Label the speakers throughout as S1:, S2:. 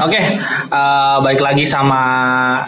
S1: Oke, eh, balik lagi sama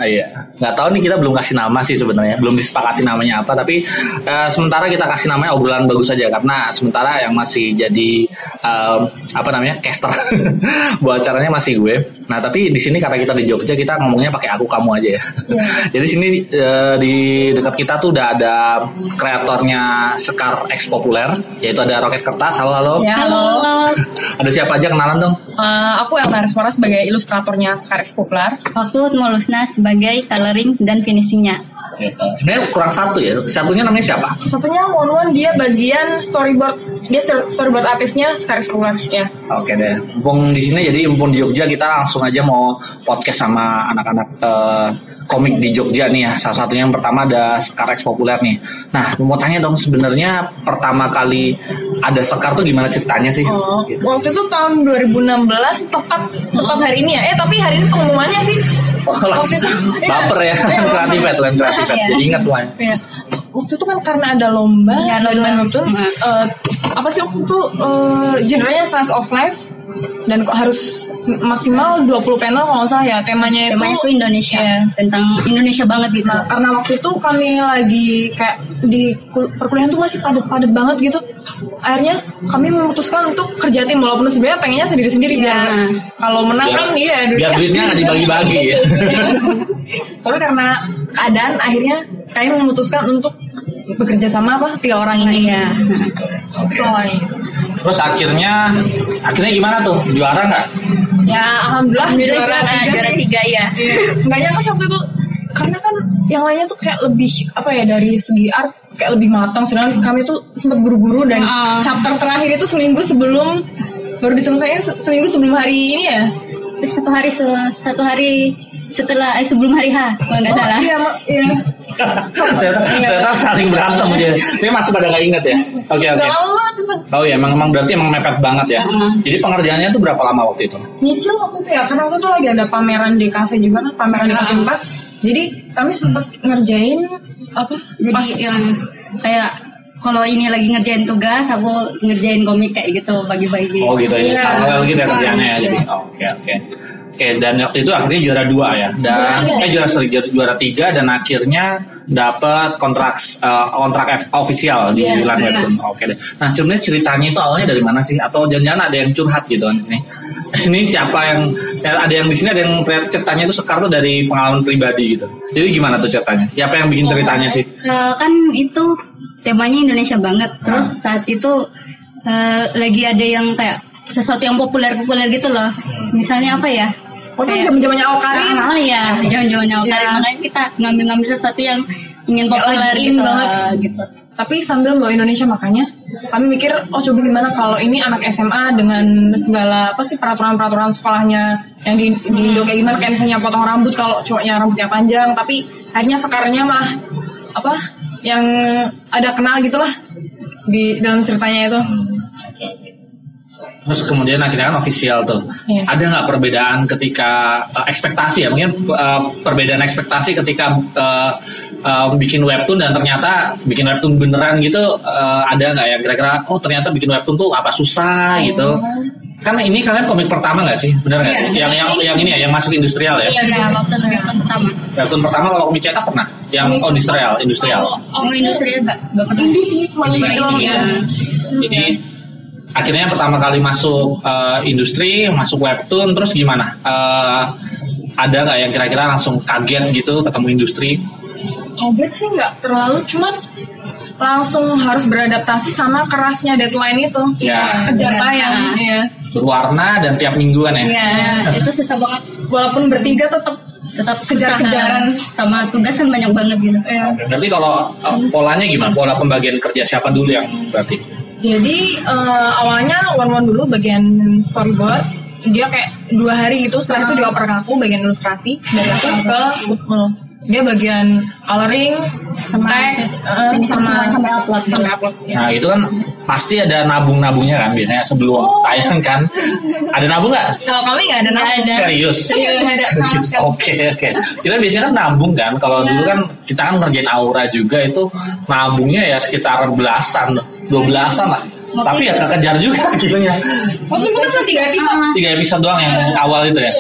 S1: eh, iya. Nggak tahu nih kita belum kasih nama sih sebenarnya, belum disepakati namanya apa, tapi eh, sementara kita kasih namanya obrolan bagus aja karena sementara yang masih jadi eh, apa namanya? caster buat acaranya masih gue. Nah, tapi di sini karena kita di Jogja kita ngomongnya pakai aku kamu aja ya. jadi sini eh, di dekat kita tuh udah ada kreatornya Sekar X Populer, yaitu ada Roket Kertas. Halo halo.
S2: Ya, halo.
S1: Ada siapa aja kenalan dong?
S2: Eh, aku Elna Rismara sebagai ilustratornya Sekarex Popular.
S3: Waktu Molusna sebagai coloring dan finishingnya.
S1: Sebenarnya kurang satu ya. Satunya namanya siapa?
S2: Satunya Monwan dia bagian storyboard, dia stor- storyboard artisnya Sekarex Popular. Ya.
S1: Oke deh. Mumpung di sini jadi mumpung di Jogja kita langsung aja mau podcast sama anak-anak eh, komik di Jogja nih ya. Salah satunya yang pertama ada Sekarex populer nih. Nah, mau tanya dong sebenarnya pertama kali ada Sekar tuh gimana ceritanya sih?
S2: Oh,
S1: Gitu.
S2: waktu itu tahun 2016 tepat tepat hari ini ya. Eh tapi hari ini pengumumannya sih.
S1: Oh, langsung
S2: Iya.
S1: baper ya.
S2: Iya,
S1: Kreatif
S2: baper.
S1: ya, kalian kreatif ya.
S3: Iya.
S1: Jadi ingat semuanya.
S2: Iya. Waktu itu kan karena ada lomba,
S3: Iya,
S2: ada
S3: lomba.
S2: waktu itu,
S3: Mm.
S2: eh, apa sih waktu itu eh, genrenya slice of life dan kok harus maksimal 20 panel kalau nggak salah ya temanya itu
S3: Temanya itu Indonesia,
S2: Iya.
S3: tentang Indonesia banget gitu.
S2: Nah, karena waktu itu kami lagi kayak di kul- perkuliahan tuh masih padat-padat banget gitu. Akhirnya kami memutuskan untuk kerja tim walaupun sebenarnya pengennya sendiri-sendiri
S3: Iya.
S2: biar kalau menang
S1: Biar-
S2: kan iya
S1: Biar duitnya nggak dibagi-bagi ya.
S2: Tapi karena keadaan akhirnya kami memutuskan untuk bekerja sama apa tiga orang ini.
S3: Iya.
S1: Oke.
S2: Itu awalnya.
S1: Terus akhirnya akhirnya gimana tuh? Juara nggak?
S2: Ya alhamdulillah,
S3: Alhamdulillah juara,
S2: tiga
S3: juara
S2: sih.
S3: tiga ya.
S2: nggak nyangka sih waktu itu karena kan yang lainnya tuh kayak lebih apa ya dari segi art kayak lebih matang sedangkan kami tuh sempat buru-buru dan
S3: Ah.
S2: chapter terakhir itu seminggu sebelum baru diselesaikan se- seminggu sebelum hari ini ya
S3: Terus satu hari se- satu hari setelah eh, sebelum hari H kalau nggak salah.
S2: iya mak- iya
S1: ternyata, ternyata saling berantem aja. Tapi masih pada nggak ingat ya. Oke oke.
S2: nggak lama tuh
S1: Oh ya, emang emang berarti emang mepet banget ya.
S3: Mm-mm.
S1: Jadi pengerjaannya tuh berapa lama waktu itu?
S2: nyicil waktu itu ya karena waktu itu lagi ada pameran di kafe juga kan pameran
S3: Ah.
S2: di kafe empat jadi kami sempat ngerjain apa
S3: Jadi
S2: pas
S3: yang kayak kalau ini lagi ngerjain tugas, aku ngerjain komik kayak gitu bagi-bagi.
S1: Oh gitu ya,
S2: Iya.
S1: paralel gitu ya kerjaannya ya.
S3: Iya. Iya.
S1: Jadi oh, oke oke. Oke dan waktu itu akhirnya juara dua ya dan
S3: Juara tiga.
S1: eh, juara sorry, juara, juara tiga dan akhirnya dapat kontrak eh, kontrak F- ofisial di
S3: Iya,
S1: Lan
S3: iya.
S1: Webtoon. Oke deh. Nah sebenarnya ceritanya itu awalnya dari mana sih? Atau jangan-jangan ada yang curhat gitu kan di sini? Ini siapa yang ya, ada yang di sini ada yang ter- ceritanya itu sekar tuh dari pengalaman pribadi gitu. Jadi gimana tuh ceritanya? Siapa yang bikin ceritanya sih?
S3: Eh, kan itu temanya Indonesia banget. Terus saat itu eh, lagi ada yang kayak sesuatu yang populer-populer gitu loh. Misalnya apa ya?
S2: waktu itu zaman zamannya Okarin
S3: Ah, ya, jaman-jamannya Okarin.
S2: Iya.
S3: Makanya kita ngambil-ngambil sesuatu yang
S2: Yang
S3: ingin
S2: lagi
S3: populer
S2: in
S3: gitu.
S2: banget.
S3: eh, gitu.
S2: tapi sambil bawa Indonesia makanya kami mikir oh coba gimana kalau ini anak SMA dengan segala apa sih peraturan-peraturan sekolahnya yang di, di Indo kayak gimana kayak misalnya potong rambut kalau cowoknya rambutnya panjang tapi akhirnya sekarangnya mah apa yang ada kenal gitulah di dalam ceritanya itu
S1: Terus kemudian akhirnya kan official tuh.
S2: Iya.
S1: Ada nggak perbedaan ketika eh, ekspektasi ya? Mungkin eh, perbedaan ekspektasi ketika eh, eh, bikin webtoon dan ternyata bikin webtoon beneran gitu eh, ada nggak ya kira-kira? Oh ternyata bikin webtoon tuh apa susah gitu? Kan ini kalian komik pertama nggak sih? Bener nggak?
S3: Iya.
S1: sih? Yang yang yang ini ya yang masuk industrial ya?
S3: Iya, waktu waktu pertama.
S1: Webtoon pertama kalau komik cetak pernah? Yang oh, industrial, industrial.
S3: Mau Oh, industri enggak? Enggak pernah.
S2: Indie sih cuma
S3: Cuma
S2: indie doang
S3: indie,
S2: ya.
S3: ya.
S1: Jadi akhirnya pertama kali masuk eh, industri, masuk webtoon, terus gimana? Eh, ada nggak yang kira-kira langsung kaget gitu ketemu industri?
S2: Obat sih nggak terlalu, cuman langsung harus beradaptasi sama kerasnya deadline itu.
S1: Ya.
S2: Kejar
S3: Iya.
S2: tayang.
S3: Ah.
S2: Iya.
S1: Berwarna dan tiap mingguan ya.
S3: Iya, itu susah banget.
S2: Walaupun bertiga tetap
S3: Tetap
S2: Kejar-
S3: susah.
S2: kejaran.
S3: sama tugas kan banyak banget gitu.
S2: ya,
S1: Berarti kalau eh, polanya gimana? Pola pembagian kerja siapa dulu yang berarti?
S2: Jadi eh, awalnya one one dulu bagian storyboard dia kayak dua hari gitu setelah itu dioper ke aku bagian ilustrasi dari aku ke Utmul. dia bagian coloring
S3: Sama
S2: teks
S3: teks.
S2: eh,
S3: Ini sama- sampai upload. gitu.
S2: sampai upload ya.
S1: Nah itu kan pasti ada nabung-nabungnya kan biasanya sebelum tayang kan. Ada nabung nggak?
S2: kalau kami nggak ada
S3: Nggak
S2: nama.
S3: ada.
S1: Serius.
S2: Serius. Iya, Nggak ada sama
S1: Serius.
S2: sekali. Iya.
S1: Oke oke. Kita biasanya kan nabung kan. Kalau dulu kan kita kan ngerjain aura juga itu nabungnya ya sekitar belasan, dua belasan lah.
S2: Iya.
S3: Waktu
S1: Tapi ya kekejar juga akhirnya.
S2: waktu itu kan cuma tiga episode
S3: Ah.
S2: Iya.
S1: Tiga episode doang yang awal itu ya.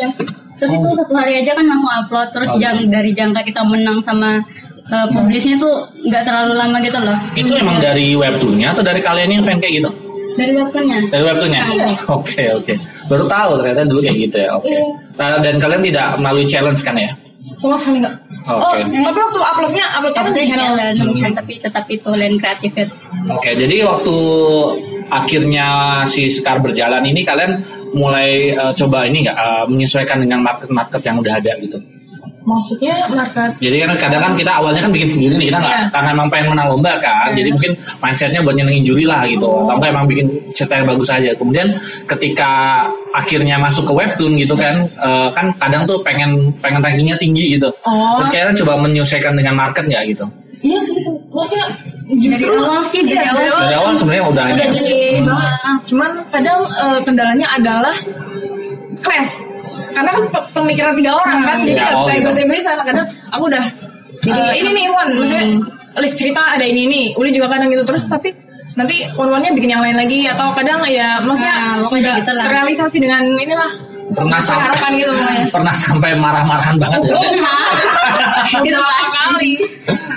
S3: terus
S2: Oh.
S3: itu satu hari aja kan langsung upload terus jang- dari jangka kita menang sama
S2: Iya.
S3: eh, publisnya tuh nggak terlalu lama gitu loh
S1: Itu emang dari webtoonnya atau dari kalian yang pengen kayak gitu?
S3: dari webtoonnya
S1: Dari webtoonnya?
S3: Iya.
S1: Oke oke. Baru tahu ternyata dulu kayak gitu ya. Oke.
S2: Iya.
S1: Nah, dan kalian tidak melalui challenge kan ya?
S2: sama sekali nggak
S1: Oke.
S2: oh tapi waktu uploadnya uploadnya
S3: tapi
S2: kan di channel
S3: challenge tapi tetap itu lain kreatif ya
S1: Oke. Jadi waktu akhirnya si Sekar berjalan ini kalian mulai eh, coba ini nggak eh, menyesuaikan dengan market-market yang udah ada gitu.
S2: maksudnya market
S1: Jadi kan kadang kan kita awalnya kan bikin sendiri nih kita nggak
S2: Iya.
S1: karena emang pengen menang lomba kan, jadi mungkin mindsetnya buat nyenengin juri lah gitu, atau enggak emang bikin cerita yang bagus aja. Kemudian ketika akhirnya masuk ke webtoon gitu kan, eh, kan kadang tuh pengen pengen rankingnya tinggi gitu.
S2: oh
S1: Terus kayaknya coba menyesuaikan dengan market nggak gitu.
S2: iya sih maksudnya justru
S3: Dari awal sih, dari
S2: Iya,
S3: awal.
S1: Dari awal sebenarnya udah
S2: Udah
S1: ada.
S2: Iya, jadi
S3: Iya.
S1: Hmm.
S2: banget. Cuman kadang eh, kendalanya adalah clash. Karena kan pe- pemikiran tiga orang kan,
S3: Hmm.
S2: jadi
S1: Tiga
S3: Ya,
S2: nggak bisa
S3: oh, gitu.
S1: orang.
S2: egois-egoisan. Kadang aku udah
S3: Jadi
S2: eh, ini nih Wan, maksudnya
S3: Hmm.
S2: list cerita ada ini ini. Uli juga kadang gitu terus tapi nanti Wan-Wannya bikin yang lain lagi atau kadang ya maksudnya
S3: Nah, pokoknya
S2: nggak
S3: gitu lah.
S2: terrealisasi dengan inilah
S1: Pernah sampai
S2: harapan gitu pokoknya.
S1: pernah sampai marah-marahan banget
S2: Oh,
S1: ya. nggak sih?
S3: Itu
S2: Beberapa
S3: pasti.
S2: kali.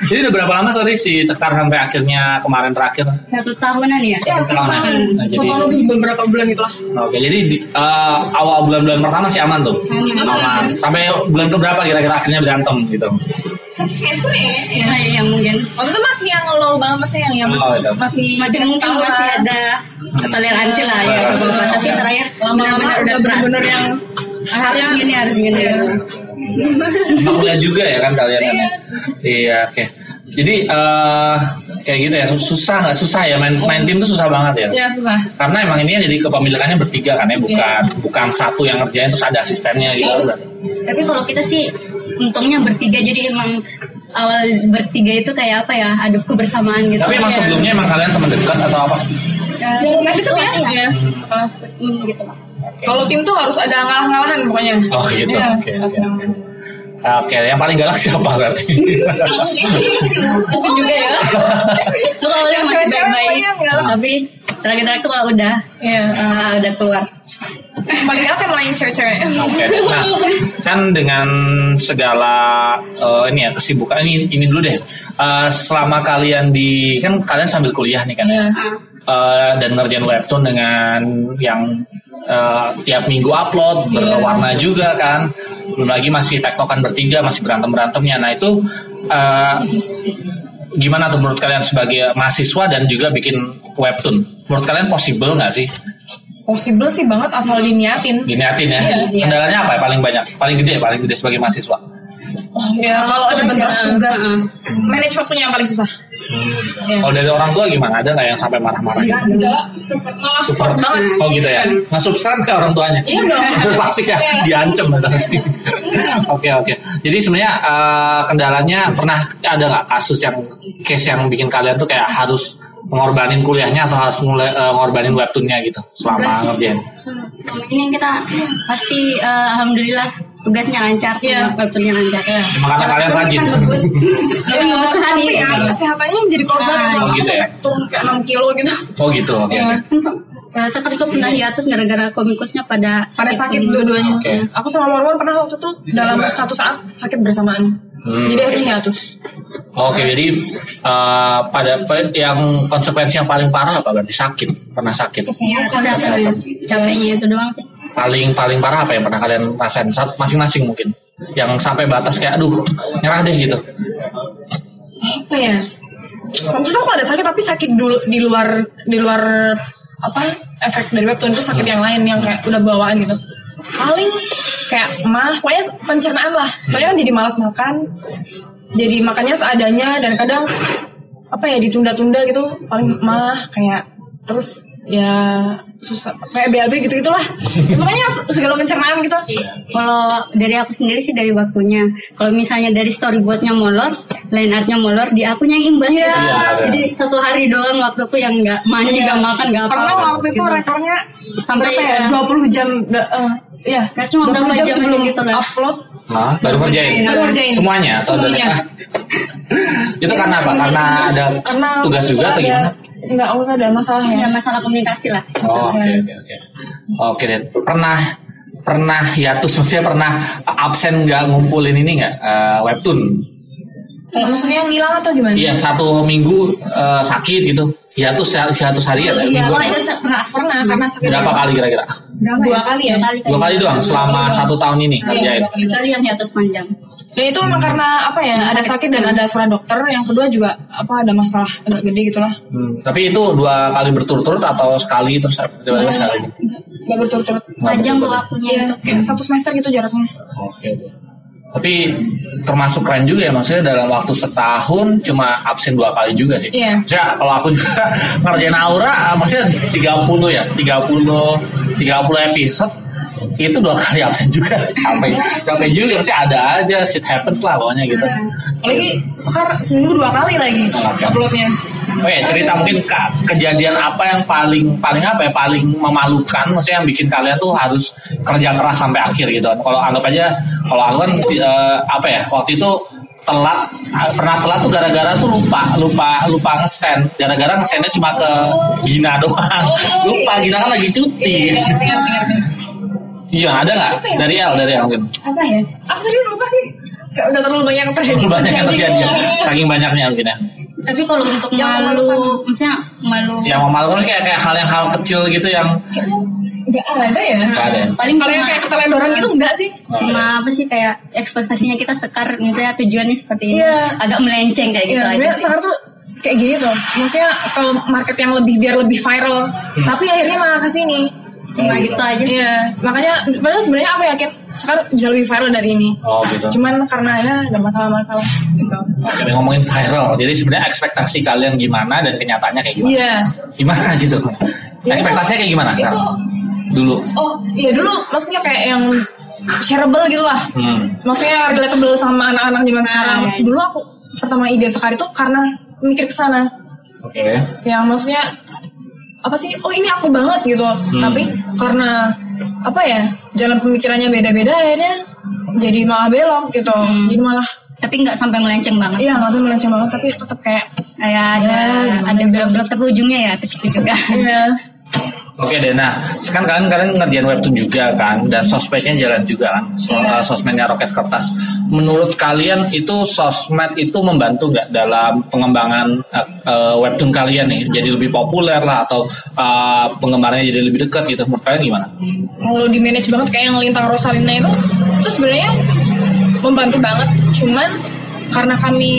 S1: Jadi udah berapa lama sorry si Sekar sampai akhirnya kemarin terakhir?
S3: satu tahunan ya
S2: Ya,
S1: Satu
S2: sekarang
S1: tahunan. Nah, jadi-
S2: total lebih beberapa bulan gitu lah.
S1: Oke, jadi di- eh, awal bulan-bulan pertama sih aman tuh.
S3: Aman.
S1: Sampai bulan keberapa kira-kira akhirnya berantem gitu.
S2: Satu semester ya.
S3: Nah, yang mungkin
S2: Waktu itu masih yang low banget, masih yang, yang
S1: Oh,
S2: masih,
S1: itu.
S2: masih
S3: masih mungkin
S2: sekawan.
S3: masih ada toleransi lah ya
S1: Toleransi.
S3: nggak apa-apa. tapi terakhir
S2: lama-lama
S3: benar-benar udah
S2: udah bener-bener
S3: keras.
S2: yang
S3: harus
S2: akhirnya-
S3: gini harus gini
S2: Iya.
S1: Emang kuliah juga ya kan kalian kan? ya?
S2: Iya.
S1: Iya, oke. Jadi eh kayak gitu ya, sus- susah nggak susah ya main main tim tuh susah banget ya.
S2: ya susah
S1: Karena emang ini jadi kepemilikannya bertiga kan ya, bukan
S3: Iya.
S1: bukan satu yang ngerjain terus ada asistennya gitu.
S3: Terus, tapi kalau kita sih untungnya bertiga jadi emang awal bertiga itu kayak apa ya adu kebersamaan gitu
S1: Tapi emang
S3: Iya.
S1: sebelumnya emang kalian teman dekat atau apa?
S3: Eh,
S2: Dari
S3: sekelas
S2: gitu ya?
S3: ya.
S2: Iya.
S3: Sekelas, hmm, gitu lah
S2: kalau tim tuh harus ada ngalah-ngalahan pokoknya
S1: Oh gitu.
S2: Iya.
S1: Oke. Oke. Ah, Oke, yang paling galak siapa berarti?
S2: Aku juga ya
S3: Kalau awalnya masih
S2: Cewek-cewek
S3: baik-baik
S2: pokoknya nggak lama.
S3: tapi terakhir-terakhir kalau udah
S2: Iya.
S3: eh, udah keluar
S2: paling galak yang melayan cewek-cewek
S1: Oke, nah kan dengan segala eh, ini ya kesibukan ini ini dulu deh. Eh, selama kalian di kan kalian sambil kuliah nih
S2: Iya.
S1: kan ya, Eh, dan ngerjain webtoon dengan yang eh, tiap minggu upload berwarna juga kan. Belum lagi masih tektokan bertiga masih berantem berantemnya. Nah itu eh, gimana tuh menurut kalian sebagai mahasiswa dan juga bikin webtoon? Menurut kalian possible nggak sih?
S2: possible sih banget asal diniatin
S1: diniatin ya.
S3: Iya.
S1: Kendalanya apa ya paling banyak? Paling gede, paling gede sebagai mahasiswa.
S2: oh, ya kalau ada bentrok
S3: Iya.
S2: tugas
S3: Heeh.
S2: manage waktunya yang paling susah Iya.
S1: Kalau dari orang tua gimana? Ada nggak yang sampai marah-marah? gitu?
S2: enggak support malah support banget
S1: Oh gitu ya. Masuk sekarang ke orang tuanya.
S2: Iya dong.
S1: Pasti ya
S3: Iya.
S1: diancam ya pasti. Oke oke. Jadi sebenarnya eh, kendalanya pernah ada nggak kasus yang case yang bikin kalian tuh kayak harus mengorbanin kuliahnya atau harus mulai eh, ngorbanin webtoonnya gitu
S3: Enggak
S1: selama
S3: sih.
S1: ngerjain?
S3: Selama ya? selama ini yang kita pasti eh, alhamdulillah tugasnya lancar,
S2: Iya.
S3: waktunya lancar.
S1: Emang karena kalian
S3: Walaupun
S1: rajin.
S3: kita ngebut, ngebut ngebut sehari.
S2: tapi Iya, ya, kesehatannya jadi korban
S3: Ah,
S2: Kalau aku
S1: gitu ya.
S2: sampai turun ke 6 kilo gitu
S1: Oh gitu. Oke.
S2: Iya.
S1: oke.
S3: Kan so- eh, sempat juga pernah hiatus gara-gara komikusnya pada
S2: pada sakit
S3: semua.
S2: dua-duanya.
S1: Oke.
S2: Aku sama Marwan pernah waktu itu dalam satu saat sakit bersamaan.
S1: Hmm.
S2: Jadi akhirnya hiatus.
S1: Oke, jadi eh, pada pe- yang konsekuensi yang paling parah apa berarti sakit, pernah sakit.
S2: Oh,
S3: Iya, kesehatan. Capeknya itu doang sih.
S1: Paling paling parah apa yang pernah kalian rasain Sa- masing-masing mungkin? Yang sampai batas kayak aduh, nyerah deh gitu.
S2: Apa ya? Maksudnya aku ada sakit tapi sakit dulu di luar di luar apa efek dari webtoon itu sakit yang lain yang kayak udah bawaan gitu. Paling kayak mah, pokoknya pencernaan lah. Soalnya kan jadi malas makan, jadi makannya seadanya dan kadang apa ya ditunda-tunda gitu. Paling mah kayak terus ya susah kayak BAB gitu gitulah. Makanya segala pencernaan gitu.
S3: Kalau dari aku sendiri sih dari waktunya. Kalau misalnya dari storyboardnya molor, line artnya molor, di akunya yang imbas. gitu.
S2: Iya.
S3: Jadi satu hari doang waktuku yang nggak mandi, nggak makan, nggak apa-apa.
S2: Pernah Iya. waktu itu
S3: Gitu.
S2: rekornya
S3: Sampai
S2: berapa ya?
S3: ya?
S2: 20 jam da- eh, Iya
S3: Ya, cuma berapa jam aja
S2: sebelum
S3: gitu lah.
S2: upload
S1: Hah? Baru kerjain.
S2: Baru kerjain.
S1: Semuanya. atau ada-
S2: Semuanya.
S1: itu karena apa? Karena ada
S2: Karena
S1: tugas
S2: waktu itu
S1: juga atau
S2: ada-
S1: gimana?
S2: Enggak, waktu itu
S3: Iya,
S2: ada masalah ya
S3: Ya masalah komunikasi lah.
S1: Oh, oke oke oke. Oke, Den. pernah pernah hiatus maksudnya pernah absen nggak ngumpulin ini nggak eh, webtoon
S2: maksudnya ngilang atau gimana?
S1: iya satu minggu eh, sakit gitu hiatus hiatus harian ya,
S2: Iya,
S1: minggu
S2: wah,
S1: apa?
S2: itu se- pernah, pernah karena sakit. ya.
S1: berapa kali kira-kira
S3: Hmm. Berapa
S2: Dua kali ya?
S3: Dua kali,
S1: dua kali doang selama satu tahun ini
S2: Iya.
S1: kerjain
S2: dua
S3: Dua kali yang hiatus panjang.
S2: Dan itu memang karena apa ya? Ada sakit dan ada surat dokter. Yang kedua juga apa ada masalah agak gede gitulah.
S1: Hmm, tapi itu dua kali berturut-turut atau sekali terus
S2: Iya.
S1: dua sekali lagi?
S2: Gak berturut-turut.
S1: Nggak
S3: Panjang tuh
S1: berturut-turut.
S3: waktunya
S2: Iya,
S3: itu.
S2: kayak satu semester gitu jaraknya.
S1: Oke. Tapi termasuk keren juga ya maksudnya dalam waktu setahun cuma absen dua kali juga sih.
S2: Iya.
S1: Maksudnya kalau aku juga ngerjain aura ah, maksudnya 30 ya, 30 30 episode itu dua kali absen juga sih capek capek juga sih ada aja shit happens lah pokoknya gitu.
S2: Lagi sekarang seminggu dua kali lagi uploadnya.
S1: Oh ya cerita mungkin Kak, kejadian apa yang paling paling apa ya paling memalukan maksudnya yang bikin kalian tuh harus kerja keras sampai akhir gitu kan. Kalau anggap aja kalau aku kan eh, apa ya waktu itu telat ah, pernah telat tuh gara-gara tuh lupa lupa lupa ngesen gara-gara ngesennya cuma ke Gina doang lupa Gina kan lagi
S2: Iya,
S1: cuti iya ada nggak dari L dari L mungkin
S3: Apa ya?
S2: Aku serius lupa sih. Kayak udah terlalu banyak terjadi.
S1: banyak yang terjadi ya. saking banyaknya mungkin ya
S3: Tapi kalau untuk
S2: Yang kan?
S3: malu, misalnya malu
S1: yang memalukan kayak kayak hal yang hal kecil gitu yang
S2: Gak ada ya.
S1: Nggak ada.
S3: Nah, paling
S2: Kalau yang
S3: cuma-
S2: kayak keteledoran gitu enggak sih?
S3: cuma apa sih kayak ekspektasinya kita sekar misalnya tujuannya seperti ini
S2: Iya.
S3: agak melenceng kayak gitu
S2: Iya,
S3: aja
S2: sebenarnya
S3: sih.
S2: sekarang tuh kayak gini tuh. Maksudnya kalau market yang lebih biar lebih viral,
S1: Hmm.
S2: tapi akhirnya malah ke sini.
S3: cuma gitu aja
S2: Iya, makanya padahal sebenarnya aku yakin sekarang bisa lebih viral dari ini.
S1: oh gitu
S2: Cuman karena ya ada masalah-masalah gitu.
S1: Jadi ngomongin viral, jadi sebenarnya ekspektasi kalian gimana dan kenyataannya kayak gimana?
S2: Iya.
S1: Gimana gitu?
S2: Ya,
S1: Ekspektasinya kayak gimana
S2: Itu
S1: sekarang? Dulu.
S2: oh, iya dulu maksudnya kayak yang shareable gitu lah.
S1: Hmm.
S2: Maksudnya relatable sama anak-anak zaman sekarang.
S3: iya.
S2: Dulu aku pertama ide sekali tuh karena mikir ke sana.
S1: Oke.
S2: yang maksudnya apa sih oh ini aku banget gitu
S3: Hmm.
S2: tapi karena apa ya jalan pemikirannya beda-beda akhirnya jadi malah belok gitu
S3: Hmm.
S2: jadi malah
S3: tapi nggak sampai melenceng banget
S2: iya nggak usah melenceng banget tapi tetap kayak
S3: kayak ada
S2: Ya,
S3: ada belok-belok tapi ujungnya ya ke situ juga
S2: iya
S1: Oke deh, nah sekarang kalian kalian ngerjain webtoon juga kan dan sosmednya jalan juga kan, So-
S2: Iya.
S1: eh, sosmednya roket kertas. Menurut kalian itu sosmed itu membantu nggak dalam pengembangan eh, eh, webtoon kalian nih, jadi lebih populer lah atau eh, penggemarnya jadi lebih dekat gitu? Menurut kalian gimana?
S2: kalau di manage banget kayak yang lintang Rosalina itu itu sebenarnya membantu banget cuman karena kami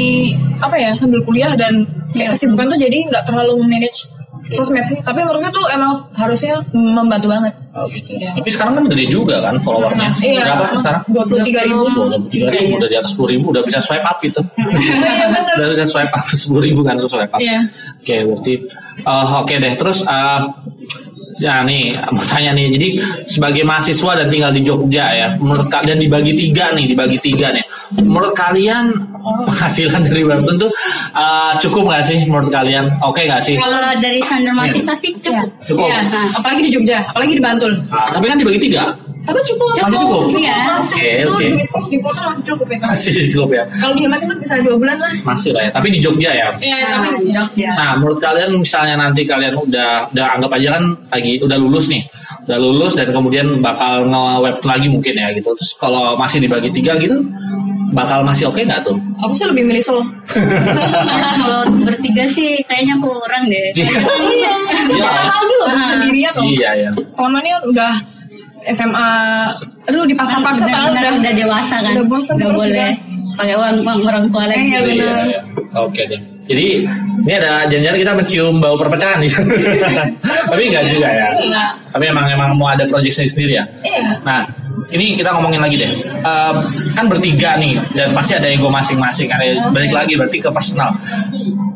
S2: apa ya sambil kuliah dan kayak
S3: Iya.
S2: kesibukan tuh jadi nggak terlalu manage sosmed sih tapi menurutku tuh emang harusnya membantu banget
S1: Oh, gitu.
S2: Iya.
S1: Tapi sekarang kan gede juga kan followernya. Berapa sih sekarang?
S2: dua puluh tiga ribu
S1: udah tiga ribu udah di atas sepuluh ribu udah bisa swipe up itu
S2: iya bener
S1: udah bisa swipe up sepuluh ribu kan langsung swipe up
S2: Iya.
S1: oke berarti eh, oke deh terus eh, ya nih mau tanya nih jadi sebagai mahasiswa dan tinggal di Jogja ya menurut kalian dibagi tiga nih dibagi tiga nih menurut kalian penghasilan dari webtoon tuh eh, cukup nggak sih menurut kalian oke nggak sih
S3: kalau dari standar mahasiswa sih cukup
S1: Iya. Cukup.
S2: Iya. Apalagi di Jogja, apalagi di Bantul.
S1: Ah, tapi kan dibagi tiga
S2: Tapi cukup.
S1: Masih cukup?
S3: Iya.
S2: Masih cukup.
S1: Oke,
S2: itu
S1: oke.
S2: duit kos di kota masih cukup itu.
S1: masih cukup ya
S2: Kalau di Magelang bisa dua bulan lah.
S1: masih lah ya tapi di Jogja ya
S2: Iya, tapi
S3: Nah, Jogja
S1: Nah, menurut kalian misalnya nanti kalian udah udah anggap aja kan lagi udah lulus nih, udah lulus dan kemudian bakal nge-web lagi mungkin ya gitu. Terus kalau masih dibagi tiga gitu, bakal masih oke nggak tuh?
S2: aku sih lebih milih Solo.
S1: Nah.
S3: kalau bertiga sih kayaknya kurang deh
S2: Iya.
S1: Iya.
S2: Sudah tahu dulu
S3: Ah.
S2: sendirian loh.
S1: Iya ya.
S2: Selama ini udah SMA, aduh di pasar-pasar tahu
S3: Benar-benar
S2: udah.
S3: udah dewasa kan
S2: ya. udah bosan
S3: nggak
S2: terus
S3: boleh pakai uang uang orang tua lagi
S2: Iya,
S1: Gitu,
S2: benar.
S1: iya, iya. Oke deh. Jadi ini ada janjian kita mencium bau perpecahan nih. Tapi enggak juga ya.
S3: Nah,
S1: Tapi emang emang mau ada project sendiri ya.
S2: Iya.
S1: Nah, ini kita ngomongin lagi deh. Eh, kan bertiga nih, dan pasti ada ego masing-masing. Ada balik lagi berarti ke personal.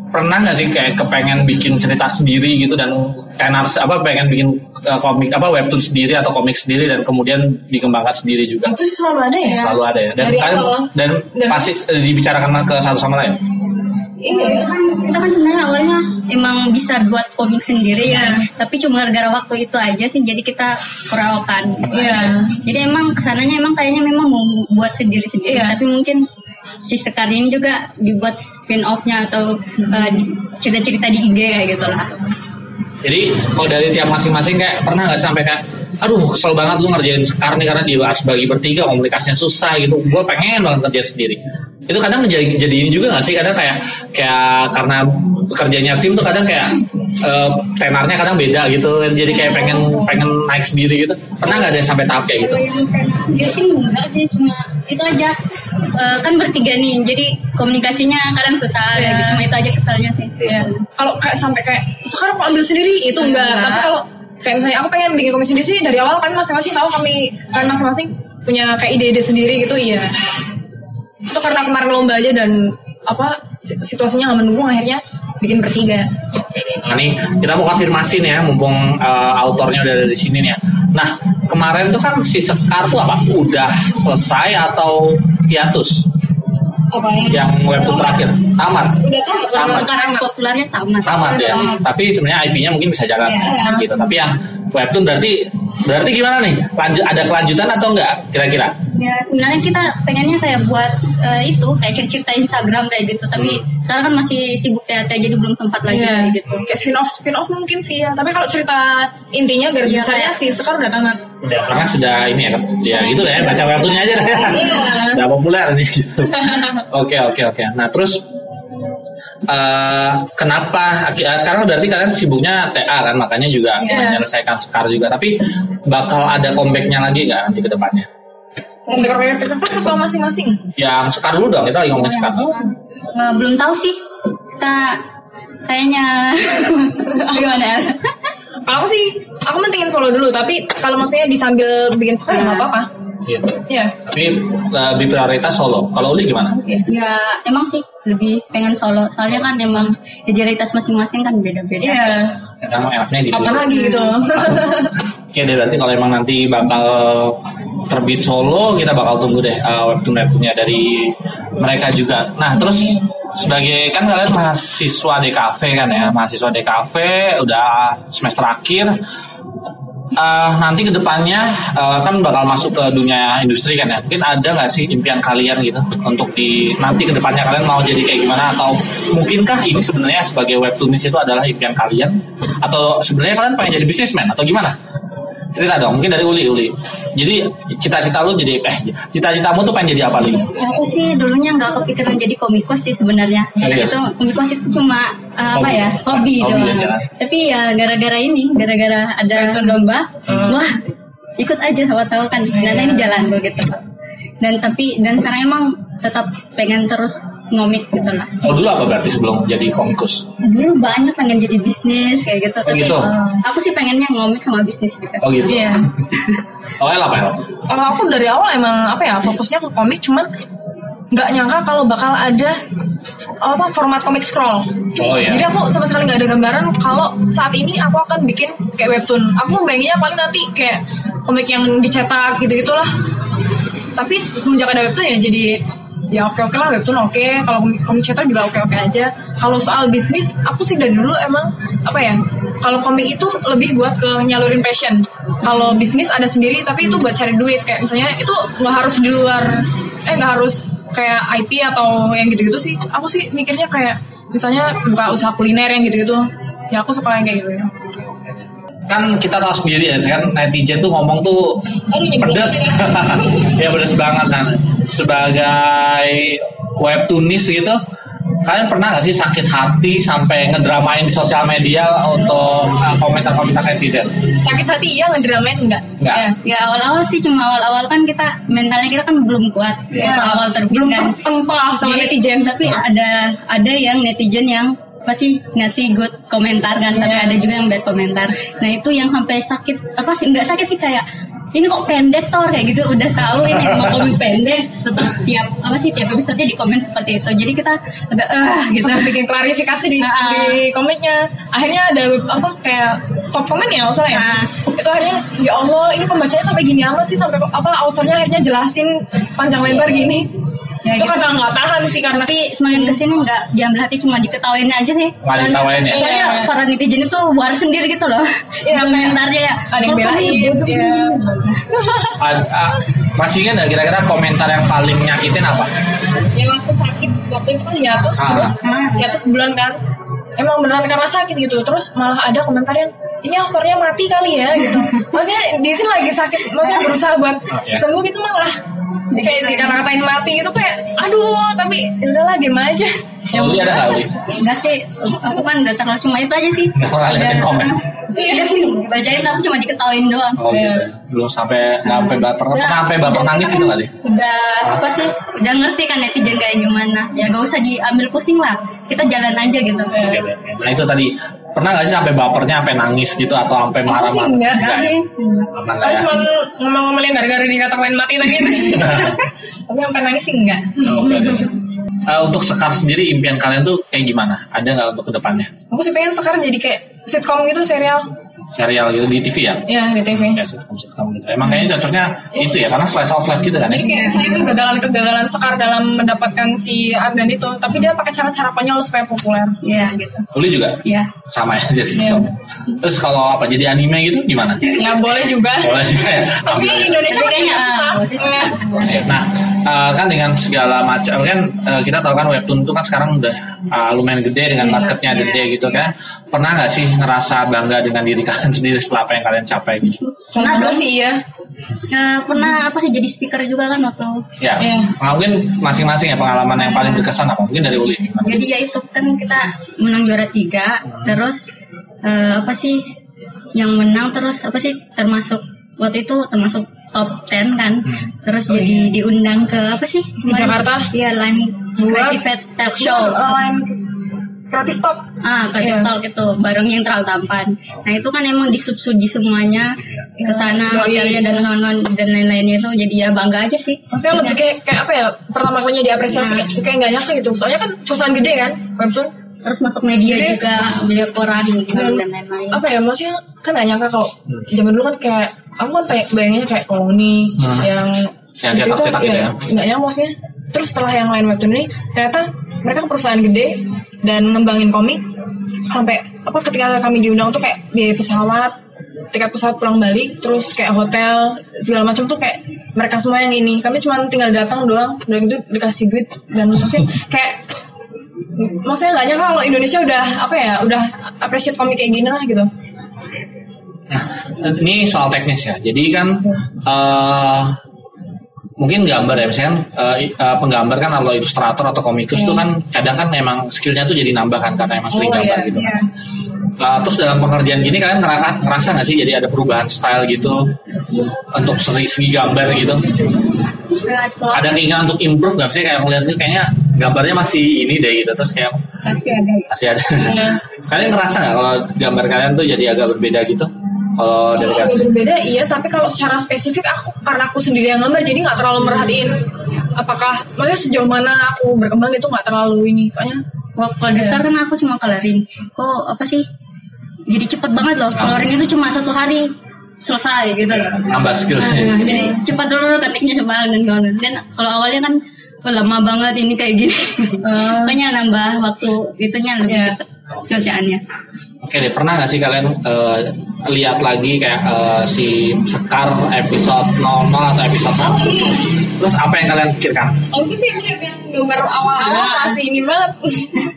S1: Pernah nggak sih kayak kepengen bikin cerita sendiri gitu dan tenar apa pengen bikin eh, komik apa webtoon sendiri atau komik sendiri dan kemudian dikembangkan sendiri juga.
S2: Aku sih selalu ada ya.
S1: Selalu ada ya. Dan
S2: Dari
S1: kalian-
S2: awal.
S1: dan
S2: Dan-
S1: pasti eh, dibicarakan ke satu sama lain.
S3: Iya, itu kan kita kan sebenarnya awalnya emang bisa buat komik sendiri ya, tapi cuma gara-gara waktu itu aja sih, jadi kita kurawakan.
S2: Iya.
S3: Jadi emang kesananya emang kayaknya memang mau buat sendiri-sendiri,
S2: Iya.
S3: tapi mungkin si Sekar ini juga dibuat spin off-nya atau eh, di- cerita-cerita di IG kayak gitu lah.
S1: Jadi kalau dari tiap masing-masing kayak pernah nggak sampai kayak aduh kesel banget gue ngerjain sekar nih karena dia harus bagi bertiga komunikasinya susah gitu gue pengen banget kerja sendiri itu kadang jadi jadi ini juga gak sih kadang kayak kayak karena kerjanya tim tuh kadang kayak eh, tenarnya kadang beda gitu jadi kayak pengen pengen naik sendiri gitu pernah nggak ada yang sampai tahap kayak gitu
S3: Kalau yang tenar sendiri sih enggak sih cuma itu aja Eh, kan bertiga nih jadi komunikasinya kadang susah
S2: Iya.
S3: gitu. cuma itu aja kesalnya sih
S2: Iya. Kalau kayak sampai kayak sekarang aku ambil sendiri itu enggak.
S3: Enggak.
S2: Tapi kalau kayak misalnya aku pengen bikin komisi sendiri sih dari awal kami masing-masing tahu kami kami masing-masing punya kayak ide-ide sendiri gitu iya. Itu karena kemarin lomba aja dan apa si- situasinya nggak mendukung akhirnya bikin bertiga.
S1: Nah, ini kita mau konfirmasi nih ya, mumpung eh, autornya udah ada di sini nih ya. Nah, kemarin tuh kan si Sekar tuh apa? Udah selesai atau hiatus
S2: Apa ya?
S1: yang webtoon terakhir? Tamat.
S2: Udah kan
S3: kalau sekarang populernya tamat
S1: Tamat ya. Tapi sebenarnya IP-nya mungkin bisa jalan
S3: Iya.
S1: gitu. Tapi yang webtoon berarti berarti gimana nih? Lanjut ada kelanjutan atau enggak kira-kira?
S3: ya sebenarnya kita pengennya kayak buat eh, itu kayak cerita Instagram kayak gitu tapi sekarang kan masih sibuk ya jadi belum sempat lagi
S2: Iya.
S3: kayak gitu
S2: Kayak spin off spin off mungkin sih ya. Tapi kalau cerita intinya garis
S3: Iya,
S2: besarnya
S3: kayak-
S2: sih sekarang udah tamat.
S1: Ya, karena sudah ini ya, ya gitu lah ya, baca webtoonnya aja deh. Udah populer nih gitu. Oke, oke, oke. Nah, terus eh kenapa eh, sekarang berarti kalian sibuknya TA kan makanya juga
S2: Iya.
S1: menyelesaikan Sekar juga tapi bakal ada comebacknya lagi nggak nanti ke depannya
S2: Mau mikir-mikir kertas atau masing-masing?
S1: yang Sekar dulu dong kita lagi ngomongin Sekar
S3: Eh, Nah, belum tahu sih kita kayaknya gimana ya
S2: Kalau aku sih, aku mentingin solo dulu, tapi kalau maksudnya disambil bikin sekolah nggak apa-apa.
S1: gitu.
S2: Iya.
S1: tapi eh, lebih prioritas solo kalau Uli gimana
S3: ya emang sih lebih pengen solo soalnya kan emang identitas masing-masing kan beda-beda
S2: Iya.
S1: kadang enaknya gitu
S2: Kapan lagi
S3: Iya.
S2: gitu?
S1: Oke Ya deh berarti kalau emang nanti bakal terbit solo kita bakal tunggu deh uh, webtoon webtoonnya dari mereka juga. Nah terus sebagai kan kalian mahasiswa DKV kan ya mahasiswa DKV udah semester akhir Uh, nanti kedepannya uh, kan bakal masuk ke dunia industri kan ya mungkin ada nggak sih impian kalian gitu untuk di nanti kedepannya kalian mau jadi kayak gimana atau mungkinkah ini sebenarnya sebagai webtoonis itu adalah impian kalian atau sebenarnya kalian pengen jadi bisnismen atau gimana cerita dong mungkin dari Uli Uli jadi cita-cita lu jadi eh cita-citamu tuh pengen jadi apa Uli
S3: Ya, aku sih dulunya nggak kepikiran jadi komikus sih sebenarnya
S1: Serius?
S3: itu komikus itu cuma uh, apa
S1: Hobi.
S3: ya hobi,
S1: Hobi
S3: doang
S1: aja.
S3: tapi ya gara-gara ini gara-gara ada lomba
S1: Hmm.
S3: wah ikut aja sama tahu kan dan ini jalan gue gitu dan tapi dan sekarang emang tetap pengen terus ngomik gitu lah
S1: oh dulu apa berarti sebelum jadi komikus
S3: dulu banyak pengen jadi bisnis kayak gitu tapi
S1: gitu?
S3: uh, aku sih pengennya ngomik sama bisnis gitu
S1: oh gitu
S2: Iya.
S1: oh El apa El
S2: Kalau aku dari awal emang apa ya fokusnya ke komik, cuman nggak nyangka kalau bakal ada apa format komik scroll.
S1: oh ya
S2: Jadi aku sama sekali nggak ada gambaran kalau saat ini aku akan bikin kayak webtoon. Aku bayanginnya paling nanti kayak komik yang dicetak gitu gitulah. Tapi semenjak ada webtoon ya jadi ya oke oke lah webtoon oke. Kalau komik, komik cetak juga oke oke aja. Kalau soal bisnis aku sih dari dulu emang apa ya? Kalau komik itu lebih buat ke nyalurin passion. Kalau bisnis ada sendiri tapi itu buat cari duit kayak misalnya itu nggak harus di luar eh nggak harus kayak IT atau yang gitu-gitu sih. Aku sih mikirnya kayak misalnya buka usaha kuliner yang gitu-gitu. Ya aku suka yang kayak gitu.
S1: kan kita tahu sendiri ya kan netizen tuh ngomong tuh pedes ya pedes banget kan sebagai webtoonis gitu kalian pernah nggak sih sakit hati sampai ngedramain di sosial media untuk uh, komentar-komentar netizen
S2: Sakit hati iya ngedramain enggak?
S1: Nggak.
S2: Ya.
S3: Ya awal-awal sih cuma awal-awal kan kita mentalnya kita kan belum kuat
S2: Iya.
S3: waktu awal terbit
S2: Belum
S3: kan.
S2: tertempah sama
S3: Jadi,
S2: netizen.
S3: Tapi ada ada yang netizen yang pasti ngasih good komentar kan, tapi
S2: Iya.
S3: ada juga yang bad komentar. Nah itu yang sampai sakit apa sih? Nggak sakit sih kayak ini kok pendek tor kayak gitu udah tahu ini mau komik pendek tetap tiap apa sih tiap episode di komen seperti itu jadi kita agak eh gitu
S2: Sampai bikin klarifikasi di,
S3: Ah, ah.
S2: di komennya. Akhirnya ada web- apa kayak top komen ya kalau salah ya.
S3: Ah.
S2: Itu akhirnya ya Allah ini pembacanya sampai gini amat sih sampai apalah autornya akhirnya jelasin panjang lebar gini.
S3: Iya. Ya,
S2: itu kan
S3: gitu.
S2: kadang nggak tahan sih karena
S3: tapi
S2: Hmm.
S3: semakin kesini nggak diambil hati cuma diketawain aja sih
S1: Malah diketawain ya?
S3: soalnya
S2: Iya.
S3: para netizen itu war sendiri gitu loh
S2: Iya,
S3: Di komentarnya ya
S2: ada yang
S3: "Kalau kamu
S2: belain,
S3: bodoh,
S2: iya.
S3: bodoh."
S1: Ad- ah, masih ingat nggak kira-kira komentar yang paling nyakitin apa
S2: yang aku sakit waktu itu kan hiatus
S1: Ah.
S2: ya, terus hiatus sebulan kan emang beneran karena sakit gitu terus malah ada komentar yang ini aktornya mati kali ya gitu maksudnya di sini lagi sakit maksudnya berusaha buat
S1: iya.
S2: sembuh gitu malah kayak dikata-katain mati gitu kayak aduh tapi ya udahlah diem aja
S1: Yang beli ada nggak beli?
S3: Enggak sih, aku kan enggak terlalu cuma itu aja sih.
S1: Orang liatin
S3: Dan-
S1: komen.
S3: Iya sih, dibacain aku cuma diketawain doang.
S1: Oh
S2: Iya.
S1: gitu. Belum sampai nggak sampai baper,
S3: Nggak,
S1: pernah sampai baper
S3: udah-
S1: nangis gitu kali.
S3: Udah apa sih? Udah ngerti kan netizen kayak gimana? Ya gak usah diambil pusing lah. Kita jalan aja gitu.
S2: Iya.
S1: Oke, oke. Nah itu tadi pernah nggak sih sampai bapernya sampai nangis gitu atau sampai
S2: aku sih
S1: marah-marah?
S2: enggak
S3: Enggak sih.
S1: Pernah nggak
S2: aku
S1: ya?
S2: cuma ngomong-ngomongin gara-gara dikata-katain mati tadi itu sih. tapi sampai nangis sih enggak
S1: Oke, oke. Eh, untuk Sekar sendiri impian kalian tuh kayak gimana? Ada nggak untuk kedepannya?
S2: aku sih pengen sekarang jadi kayak sitcom gitu serial
S1: Serial gitu di TV ya?
S2: ya di TV
S1: Ya, sitcom sitcom gitu. Emang kayaknya cocoknya itu ya, karena slice of life gitu kan ya?
S2: Jadi kayak saya ini kegagalan-kegagalan Sekar dalam mendapatkan si Ardan itu Tapi dia pakai cara-cara konyol supaya populer
S3: Iya gitu.
S1: Lu juga
S3: Iya.
S1: sama ya jadi
S2: Iya.
S1: sitcom. Terus kalau apa jadi anime gitu gimana?
S2: Ya boleh juga
S1: Boleh juga ya.
S2: Tapi
S1: Ambil aja.
S2: Indonesia
S3: Tapi
S2: masih
S3: kayaknya,
S2: susah Iya.
S3: ah, masih susah.
S1: Oke, Nah, eh, kan dengan segala macam kan eh, kita tahu kan webtoon itu kan sekarang udah eh, lumayan gede dengan
S2: Iya,
S1: marketnya
S3: iya,
S1: gede gitu
S3: iya.
S1: kan. Pernah nggak sih ngerasa bangga dengan diri kalian sendiri setelah apa yang kalian capai gitu?
S3: Pernah
S2: Kenapa
S3: dong.
S2: sih iya
S3: Nah, Ya, pernah apa sih jadi speaker juga kan waktu
S1: Ya,
S2: Iya.
S1: nah, mungkin masing-masing ya pengalaman yang paling berkesan apa? Mungkin dari Uli. gimana?
S2: Iya.
S3: jadi ya itu kan kita menang juara tiga terus eh, apa sih yang menang terus apa sih termasuk waktu itu termasuk top 10 kan
S2: Hmm.
S3: terus jadi diundang ke apa sih kemarin?
S2: Oh, iya. Jakarta?
S3: iya line
S2: Buat-
S3: creative talk show
S2: Online Kreatif top
S3: ah
S2: Iya.
S3: creative
S2: Oh.
S3: talk itu bareng yang terlalu tampan nah itu kan emang disubsidi semuanya
S2: Iya.
S3: ke sana
S2: Jadi-
S3: hotelnya dan kawan-kawan dan lain-lainnya itu jadi ya bangga aja sih
S2: Maksudnya lebih kayak, kayak apa ya Pertama kalinya diapresiasi
S3: Nah.
S2: Kayak nggak nyangka gitu Soalnya kan perusahaan gede kan Webtoon
S3: terus masuk media
S2: Jadi-
S3: juga media koran Iya, dan lain-lain
S2: Iya. apa ya maksudnya kan gak nyangka kalau zaman dulu kan kayak aku kan kayak bayanginnya kayak oh nih
S1: Hmm.
S2: yang
S1: Yang
S2: gitu
S1: cetak-cetak
S2: kan,
S1: gitu ya.
S2: nggak nyangka maksudnya terus setelah yang lain webtoon ini ternyata mereka perusahaan gede dan ngembangin komik sampai apa ketika kami diundang tuh kayak biaya pesawat tiket pesawat pulang balik terus kayak hotel segala macam tuh kayak mereka semua yang ini kami cuma tinggal datang doang dan itu dikasih duit dan maksudnya kayak maksudnya nggak nyangka kalau Indonesia udah apa ya udah appreciate komik kayak gini lah gitu
S1: Nah, ini soal teknis ya. Jadi kan eh mungkin gambar ya, misalkan eh, i- eh, penggambar kan kalau ilustrator atau komikus tuh kan kadang kan emang skillnya tuh jadi nambah kan karena emang sering
S2: Iya. Oh,
S1: gambar
S2: iya,
S1: gitu. kan. Nah, terus dalam pengerjaan gini kalian ngerasa, ngerasa nggak sih jadi ada perubahan style gitu untuk segi, segi gambar gitu?
S3: Iya.
S1: Ada keinginan untuk improve nggak sih kayak ngeliat ini kayaknya gambarnya masih ini deh gitu terus kayak
S3: pasti ada
S2: ya?
S1: masih ada. kalian ngerasa nggak kalau gambar kalian tuh jadi agak berbeda gitu? Kalau dari kalian?
S2: Kalau berbeda iya tapi kalau secara spesifik aku karena aku sendiri yang gambar jadi nggak terlalu merhatiin apakah maksudnya sejauh mana aku berkembang itu nggak terlalu ini soalnya
S3: Wak- Kalau
S2: Iya.
S3: daftar kan aku cuma coloring. Kok apa sih? Jadi cepet banget loh. Coloring itu cuma satu hari selesai gitu loh.
S1: nambah
S3: Nah,
S1: skillnya.
S3: jadi cepat dulu ketiknya cepat dan kawan dan kalau awalnya kan "Wah, lama banget ini kayak gini.
S2: eh,
S3: Makanya nambah waktu itunya lebih
S2: Oh. Iya.
S3: cepet kerjaannya.
S1: Oke deh, pernah nggak sih kalian eh, lihat lagi kayak eh, si Sekar episode 00 atau episode 1? Terus apa yang kalian pikirkan?
S2: aku sih ngeliat yang gambar awal-awal
S3: Nah.
S2: masih ini banget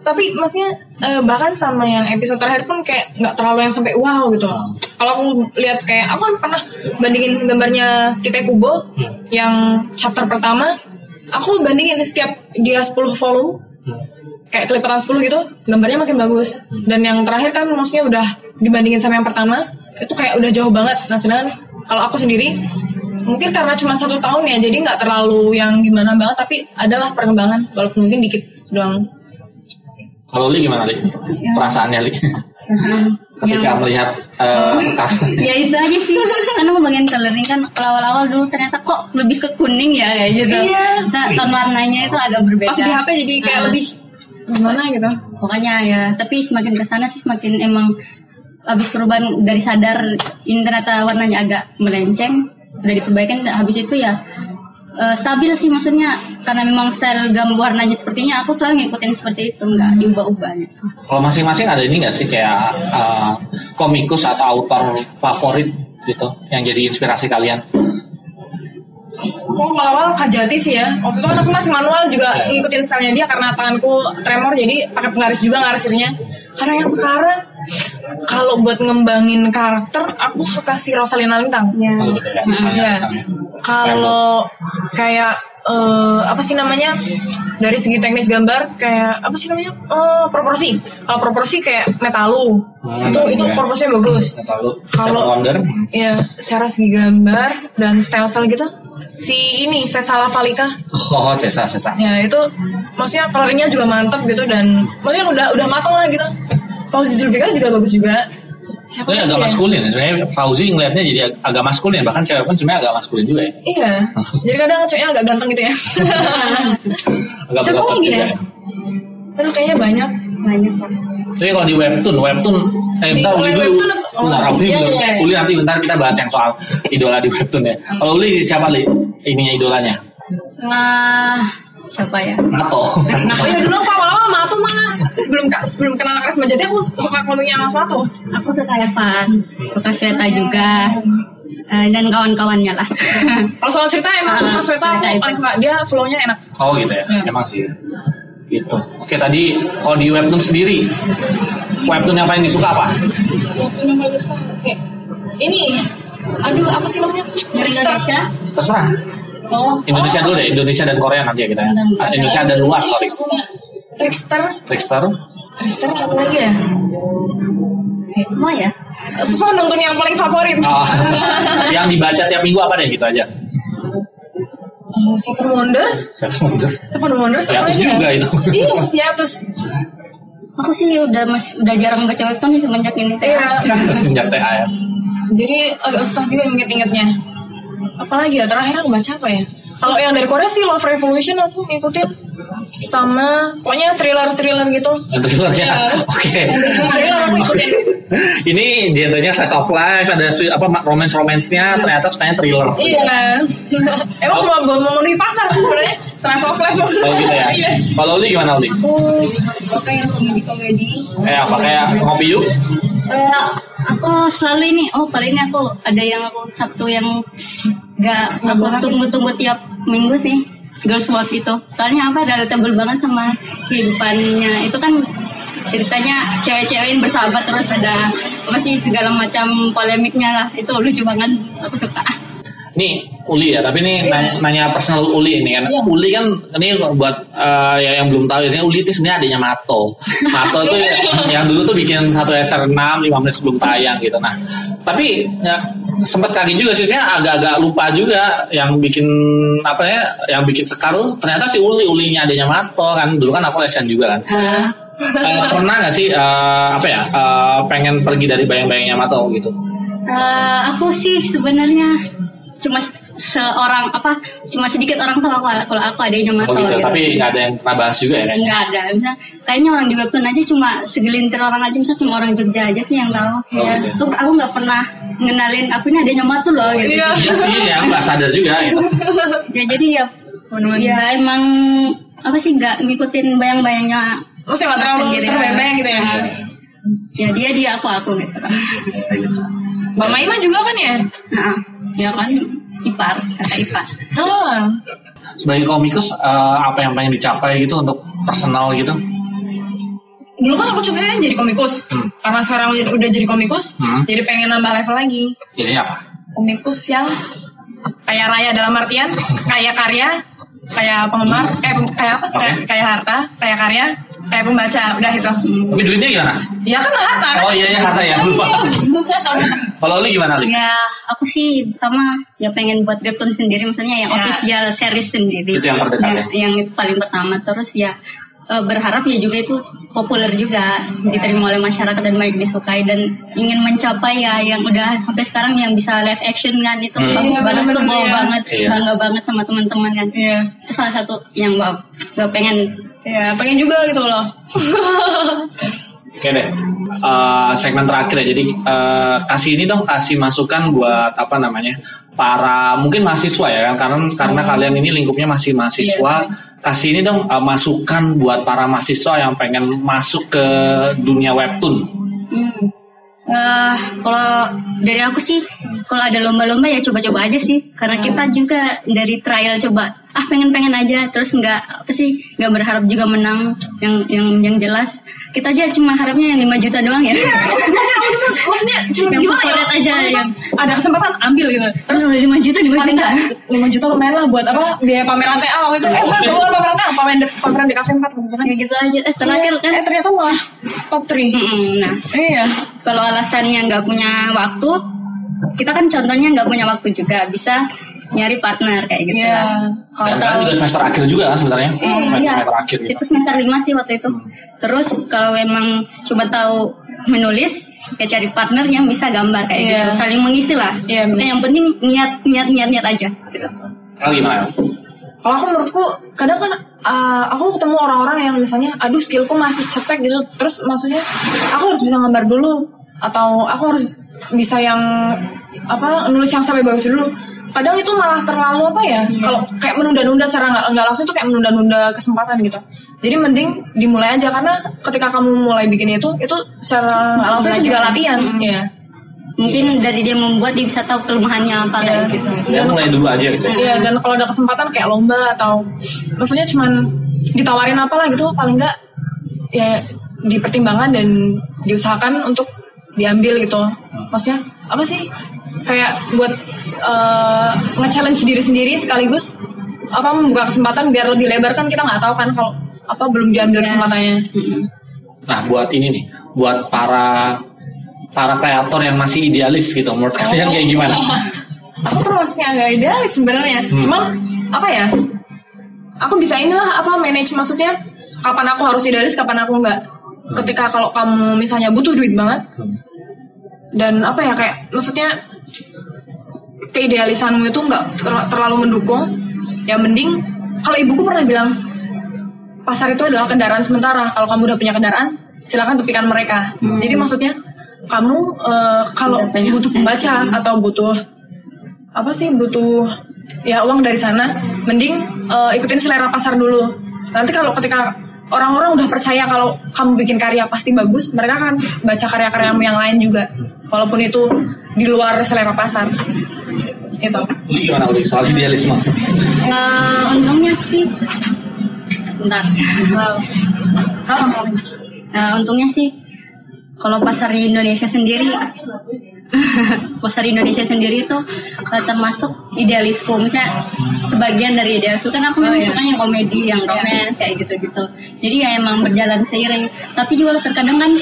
S2: tapi maksudnya eh, bahkan sama yang episode terakhir pun kayak nggak terlalu yang sampai wow gitu kalau aku lihat kayak aku kan pernah bandingin gambarnya Tite Kubo yang chapter pertama aku bandingin setiap dia 10 volume
S1: Hmm.
S2: kayak kelipatan 10 gitu gambarnya makin bagus dan yang terakhir kan maksudnya udah dibandingin sama yang pertama itu kayak udah jauh banget nah sedangkan kalau aku sendiri mungkin karena cuma satu tahun ya jadi nggak terlalu yang gimana banget tapi adalah perkembangan walaupun mungkin dikit doang
S1: Kalau Li gimana Li? Perasaannya Li? Ketika
S3: Nah, Yang-
S1: melihat eh, Sekar.
S3: ya itu aja sih karena bagian coloring kan awal-awal dulu ternyata kok lebih ke kuning ya kayak gitu
S2: Iya.
S3: Bisa tone warnanya itu agak berbeda
S2: pas di HP jadi kayak
S3: Ah.
S2: lebih gimana gitu
S3: pokoknya ya tapi semakin ke sana sih semakin emang habis perubahan dari sadar ini ternyata warnanya agak melenceng udah diperbaikin habis itu ya eh, stabil sih maksudnya karena memang style gambar warnanya sepertinya aku selalu ngikutin seperti itu nggak diubah-ubah gitu
S1: Kalau masing-masing ada ini nggak sih kayak eh, komikus atau autor favorit gitu yang jadi inspirasi kalian?
S2: Hmm. aku awal-awal kajati sih ya waktu itu kan aku masih manual juga
S1: Iya.
S2: ngikutin stylenya dia karena tanganku tremor jadi pakai penggaris juga ngarisirnya Karena yang sekarang kalau buat ngembangin karakter aku suka si Rosalina Lintang.
S3: Ya.
S1: Kalau betul ya, misalnya
S2: Iya.
S1: tentang ya.
S2: Kalau kayak eh, apa sih namanya dari segi teknis gambar kayak apa sih namanya Eh, proporsi. Kalau proporsi kayak metalu
S1: Hmm,
S2: itu itu
S1: iya.
S2: proporsinya bagus.
S1: Lalu
S2: Kalau-
S1: Seven Wonder hmm.
S2: Iya, secara segi gambar dan style-style gitu si ini Sesala Valika
S1: Oh, oh, Cesa, Cesa.
S2: ya itu maksudnya colornya juga mantep gitu dan maksudnya udah udah matang lah gitu Fauzi Zulfikar juga bagus juga siapa
S1: Itu
S2: lagi
S1: agak
S2: ya?
S1: maskulin ya. sebenarnya Fauzi ngelihatnya jadi ag- agak maskulin bahkan cewek pun sebenarnya agak maskulin juga ya.
S2: iya jadi kadang ceweknya agak ganteng gitu ya
S1: Agak
S2: Siapa
S1: berotot
S2: lagi
S1: juga.
S2: ya?
S1: Ya.
S2: aduh kayaknya banyak
S3: Banyak lah.
S1: Tapi kalau di webtoon, webtoon eh
S2: Di
S1: bentar Uli dulu.
S2: webtoon apa? Oh,
S1: Bentar Uli
S2: iya,
S1: dulu.
S2: iya.
S1: Uli nanti bentar kita bahas yang soal idola di webtoon ya. Kalau Uli siapa Li? Ininya idolanya?
S3: Wah, siapa ya?
S1: Nato.
S2: nah iya dulu aku awal-awal Matu mah sebelum ka- sebelum kenal Kres Majati aku suka komiknya Mas Matu
S3: Aku suka Evan, suka Sweta juga, eh, dan kawan-kawannya lah.
S2: kalau soal cerita emang
S3: Ah,
S2: Mas Weto aku
S3: cerita itu.
S2: paling suka dia flow-nya enak
S1: Oh gitu ya,
S2: Iya.
S1: emang sih. Gitu. Oke tadi kalau di webtoon sendiri, webtoon yang paling disuka apa?
S2: yang bagus banget sih ini aduh apa sih namanya
S3: Dari Indonesia?
S1: Terserah.
S3: Oh,
S1: Indonesia dulu deh, Indonesia dan Korea nanti ya kita. ya. Ah, Indonesia dan luar, sorry.
S2: Trickster
S1: Trickster.
S2: Trickster apa lagi ya
S3: semua ya?
S2: susah nonton yang paling favorit
S1: Ah, yang dibaca tiap minggu apa deh gitu aja.
S2: Eh, Seven Wonders
S1: Seven Wonders.
S2: Seven Wonders apa
S1: Hiatus
S2: lagi ya?
S1: juga itu.
S2: iya masih hiatus
S3: Aku sih udah mas, udah jarang baca webtoon nih semenjak ini. teh.
S2: iya
S1: Sejak TAM.
S2: jadi agak susah juga inget-ingetnya apalagi ya terakhir aku baca apa ya kalau yang dari Korea sih Love Revolution aku ngikutin sama pokoknya thriller-thriller gitu
S1: Yang thriller ya.
S2: Iya.
S1: Oke.
S2: thriller aku ngikutin
S1: Ini genrenya slice of life, ada sui- apa romance romance-nya, ternyata sukanya thriller.
S2: Iya. Emang cuma mau memenuhi pasar sih sebenarnya. Trans of life.
S1: Oh gitu ya.
S2: Iya.
S1: Kalau Uli gimana Uli?
S3: Aku suka yang komedi-komedi.
S1: Eh apa kayak ngopi yuk?
S3: Eh, aku selalu ini, oh kali ini aku ada yang aku Sabtu yang gak aku tunggu-tunggu tiap minggu sih. Girls World itu. Soalnya apa, relatable banget sama kehidupannya. Itu kan ceritanya cewek-cewek yang bersahabat terus ada apa sih segala macam polemiknya lah. Itu lucu banget. Aku suka.
S1: Nih Uli ya, tapi ini nanya, nanya personal Uli ini kan. Uli kan ini buat eh, ya yang belum tahu ini Uli itu sebenarnya adanya Mato. Mato itu ya- yang dulu tuh bikin satu eser 6 5 menit sebelum tayang gitu. Nah, tapi ya, sempat kaget juga sih sebenarnya agak-agak lupa juga yang bikin apa ya, yang bikin sekar tuh ternyata si Uli Ulinya adanya Mato kan. Dulu kan aku lesen juga kan.
S3: Eh,
S1: Eh, pernah nggak sih eh, apa ya eh, pengen pergi dari bayang-bayangnya Mato gitu?
S3: Eh, aku sih sebenarnya cuma se- seorang apa cuma sedikit orang sama kalau, kalau aku ada yang
S1: Oh
S3: masuk
S1: gitu,
S3: gitu.
S1: tapi nggak ada yang pernah bahas juga ya kayaknya.
S3: nggak ada misalnya kayaknya orang di webtoon aja cuma segelintir orang aja misalnya cuma orang Jogja aja sih yang tahu
S1: Oh,
S3: ya.
S1: gitu.
S3: Tuh, aku nggak pernah ngenalin aku ini ada nyama tuh loh gitu
S2: Iya.
S1: Iya sih, ya aku nggak sadar juga gitu.
S3: ya jadi ya
S2: Iya.
S3: ya emang apa sih nggak ngikutin bayang-bayangnya
S2: Mesti nggak terlalu
S3: Sendiri,
S2: terbayang gitu ya.
S3: ya dia dia aku aku gitu
S2: Mbak Maima juga kan ya?
S3: nah, ya kan ipar kata ipar
S2: Oh.
S1: Sebagai komikus, eh, apa yang pengen dicapai gitu untuk personal gitu?
S2: Dulu kan aku ceritanya jadi komikus.
S1: Hmm.
S2: Karena sekarang udah udah jadi komikus,
S1: Hmm.
S2: jadi pengen nambah level lagi.
S1: Jadi apa?
S2: Komikus yang kaya raya dalam artian kaya karya, kaya penggemar, kayak kayak apa? Kayak,
S1: Oke.
S2: kayak harta, kaya karya, kayak pembaca, udah itu.
S1: Tapi duitnya gimana?
S2: Ya kan harta kan?
S1: Oh iya, iya harta ya, lupa. Kalau lu gimana, Li?
S3: Ya, aku sih pertama ya pengen buat webtoon sendiri, maksudnya yang
S2: Ya.
S3: official series sendiri.
S1: Itu yang terdekat, ya?
S3: Yang, yang itu paling pertama. Terus ya eh, berharap ya juga itu populer juga diterima oleh masyarakat dan baik disukai dan ingin mencapai ya yang udah sampai sekarang yang bisa live action kan itu
S1: Hmm.
S3: bagus
S2: Iya,
S3: banget tuh
S2: bener-bener,
S3: bawa
S2: iya.
S3: banget
S1: Iya.
S3: bangga banget sama teman-teman kan
S2: Iya.
S3: itu salah satu yang gak, pengen
S2: Ya, pengen juga gitu loh.
S1: Oke deh. Eh, segmen terakhir ya, jadi eh, kasih ini dong, kasih masukan buat apa namanya para mungkin mahasiswa ya kan karena karena kalian ini lingkupnya masih mahasiswa kasih ini dong eh, masukan buat para mahasiswa yang pengen masuk ke dunia webtoon
S3: Hmm. Eh, kalau dari
S2: Hmm.
S3: aku sih, kalau ada lomba-lomba ya coba-coba aja sih, karena kita juga dari trial coba ah pengen-pengen aja terus nggak apa sih nggak berharap juga menang yang yang yang jelas kita aja cuma harapnya yang 5 juta doang ya
S2: Iya. Oh, maksudnya cuma
S3: Yang
S2: gimana ya
S3: favorit aja,
S2: Maksudnya
S3: yang-
S2: ada kesempatan ambil gitu
S3: terus udah 5 juta 5
S2: paling
S3: juta
S2: nggak lima juta lumayan lah buat apa biaya pameran TA waktu itu eh bukan bukan pameran TA pameran di, pameran di kafe empat kebetulan
S3: kayak gitu aja eh terakhir kan
S2: eh ternyata malah top 3
S3: Mm-mm, nah
S2: iya
S3: kalau alasannya nggak punya waktu kita kan contohnya nggak punya waktu juga bisa nyari partner kayak gitu
S2: iya
S1: Dan
S3: lah.
S1: kan juga semester akhir juga kan sebenarnya.
S3: Iya.
S1: Semester akhir. gitu.
S3: itu semester lima sih waktu itu terus kalau emang cuma tahu menulis ya cari partner yang bisa gambar kayak
S2: Iya.
S3: gitu saling mengisi lah
S2: Iya, bener.
S3: Eh, yang penting niat niat niat niat aja gitu.
S1: Kalau gimana? ya?
S2: kalau aku menurutku kadang kan uh, aku ketemu orang-orang yang misalnya aduh skillku masih cetek gitu terus maksudnya aku harus bisa gambar dulu atau aku harus bisa yang apa nulis yang sampai bagus dulu kadang itu malah terlalu apa ya
S3: Iya.
S2: kalau kayak menunda-nunda secara nggak nggak langsung itu kayak menunda-nunda kesempatan gitu jadi mending dimulai aja karena ketika kamu mulai bikin itu itu secara nggak langsung itu juga
S3: Belajar.
S2: latihan Iya.
S3: mungkin dari dia membuat dia bisa tahu kelemahannya apa kayak
S2: Iya.
S3: gitu
S1: Ya mulai dulu aja gitu.
S2: Iya dan kalau ada kesempatan kayak lomba atau maksudnya cuman ditawarin apalah gitu paling enggak ya dipertimbangkan dan diusahakan untuk diambil gitu. Maksudnya apa sih? Kayak buat eh, nge-challenge diri sendiri sekaligus apa membuka kesempatan biar lebih lebar kan kita nggak tahu kan kalau apa belum diambil
S3: Iya.
S2: kesempatannya.
S3: Mm-mm.
S1: Nah buat ini nih, buat para para kreator yang masih idealis gitu, menurut kalian kayak gimana?
S3: Oh.
S2: aku termasuknya agak idealis sebenarnya cuman apa ya aku bisa inilah apa manage maksudnya kapan aku harus idealis kapan aku enggak ketika kalau kamu misalnya butuh duit banget
S1: Hmm.
S2: dan apa ya kayak maksudnya keidealisanmu itu nggak ter- terlalu mendukung ya mending kalau ibuku pernah bilang pasar itu adalah kendaraan sementara kalau kamu udah punya kendaraan silakan tepikan mereka jadi maksudnya kamu eh, kalau
S3: Udah punya
S2: butuh pembaca atau butuh apa sih butuh ya uang dari sana mending eh, ikutin selera pasar dulu nanti kalau ketika orang-orang udah percaya kalau kamu bikin karya pasti bagus mereka akan baca karya-karyamu yang lain juga walaupun itu di luar selera pasar itu
S1: Ini gimana Uli soal idealisme?
S3: Eh, untungnya sih bentar Eh, untungnya sih kalau pasar di Indonesia sendiri pasar Indonesia sendiri itu eh, termasuk idealisku misalnya sebagian dari idealisku kan aku memang
S2: iya.
S3: suka yang komedi yang romance kayak gitu-gitu jadi ya emang berjalan seiring tapi juga terkadang kan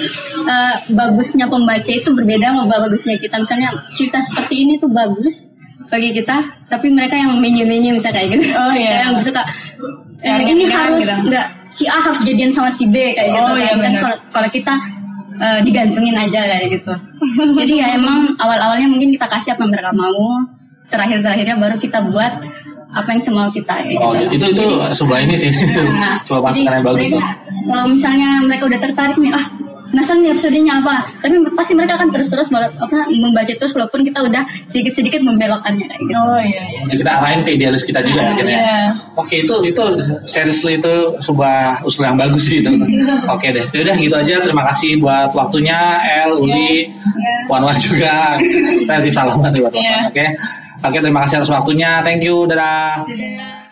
S3: eh, bagusnya pembaca itu berbeda sama bagusnya kita misalnya cerita seperti ini tuh bagus bagi kita tapi mereka yang menu-menu misalnya kayak gitu
S2: Oh, iya.
S3: yang suka eh,
S2: Yang
S3: ini
S2: ngerti kan
S3: harus
S2: gitu.
S3: nggak si A harus jadian sama si B kayak gitu
S2: Oh, iya,
S3: kan. kan
S2: benar.
S3: kalau kalau kita eh, digantungin aja kayak gitu jadi ya emang awal-awalnya mungkin kita kasih apa yang mereka mau terakhir-terakhirnya baru kita buat apa yang semau kita kayak
S1: Oh,
S3: gitu.
S1: itu itu sebuah ini sih,
S3: Nah,
S1: sebuah
S3: jadi
S1: masukan yang bagus.
S3: mereka, kalau misalnya mereka udah tertarik nih ah penasaran nih episodenya apa tapi pasti mereka akan terus-terus bal- apa, membaca terus walaupun kita udah sedikit-sedikit membelokannya kayak gitu
S2: oh iya iya
S1: Ya, kita arahin ke idealis kita juga
S3: Nah,
S1: akhirnya.
S2: Iya.
S1: Oke itu itu seriously itu sebuah usul yang bagus sih itu. Oke deh, udah gitu aja. Terima kasih buat waktunya El, Uli,
S3: Iya.
S1: Wan Wan juga. Relatif salam buat Wan Wan.
S2: Iya.
S1: Oke, oke terima kasih atas waktunya. Thank you, dadah.
S3: Dadah.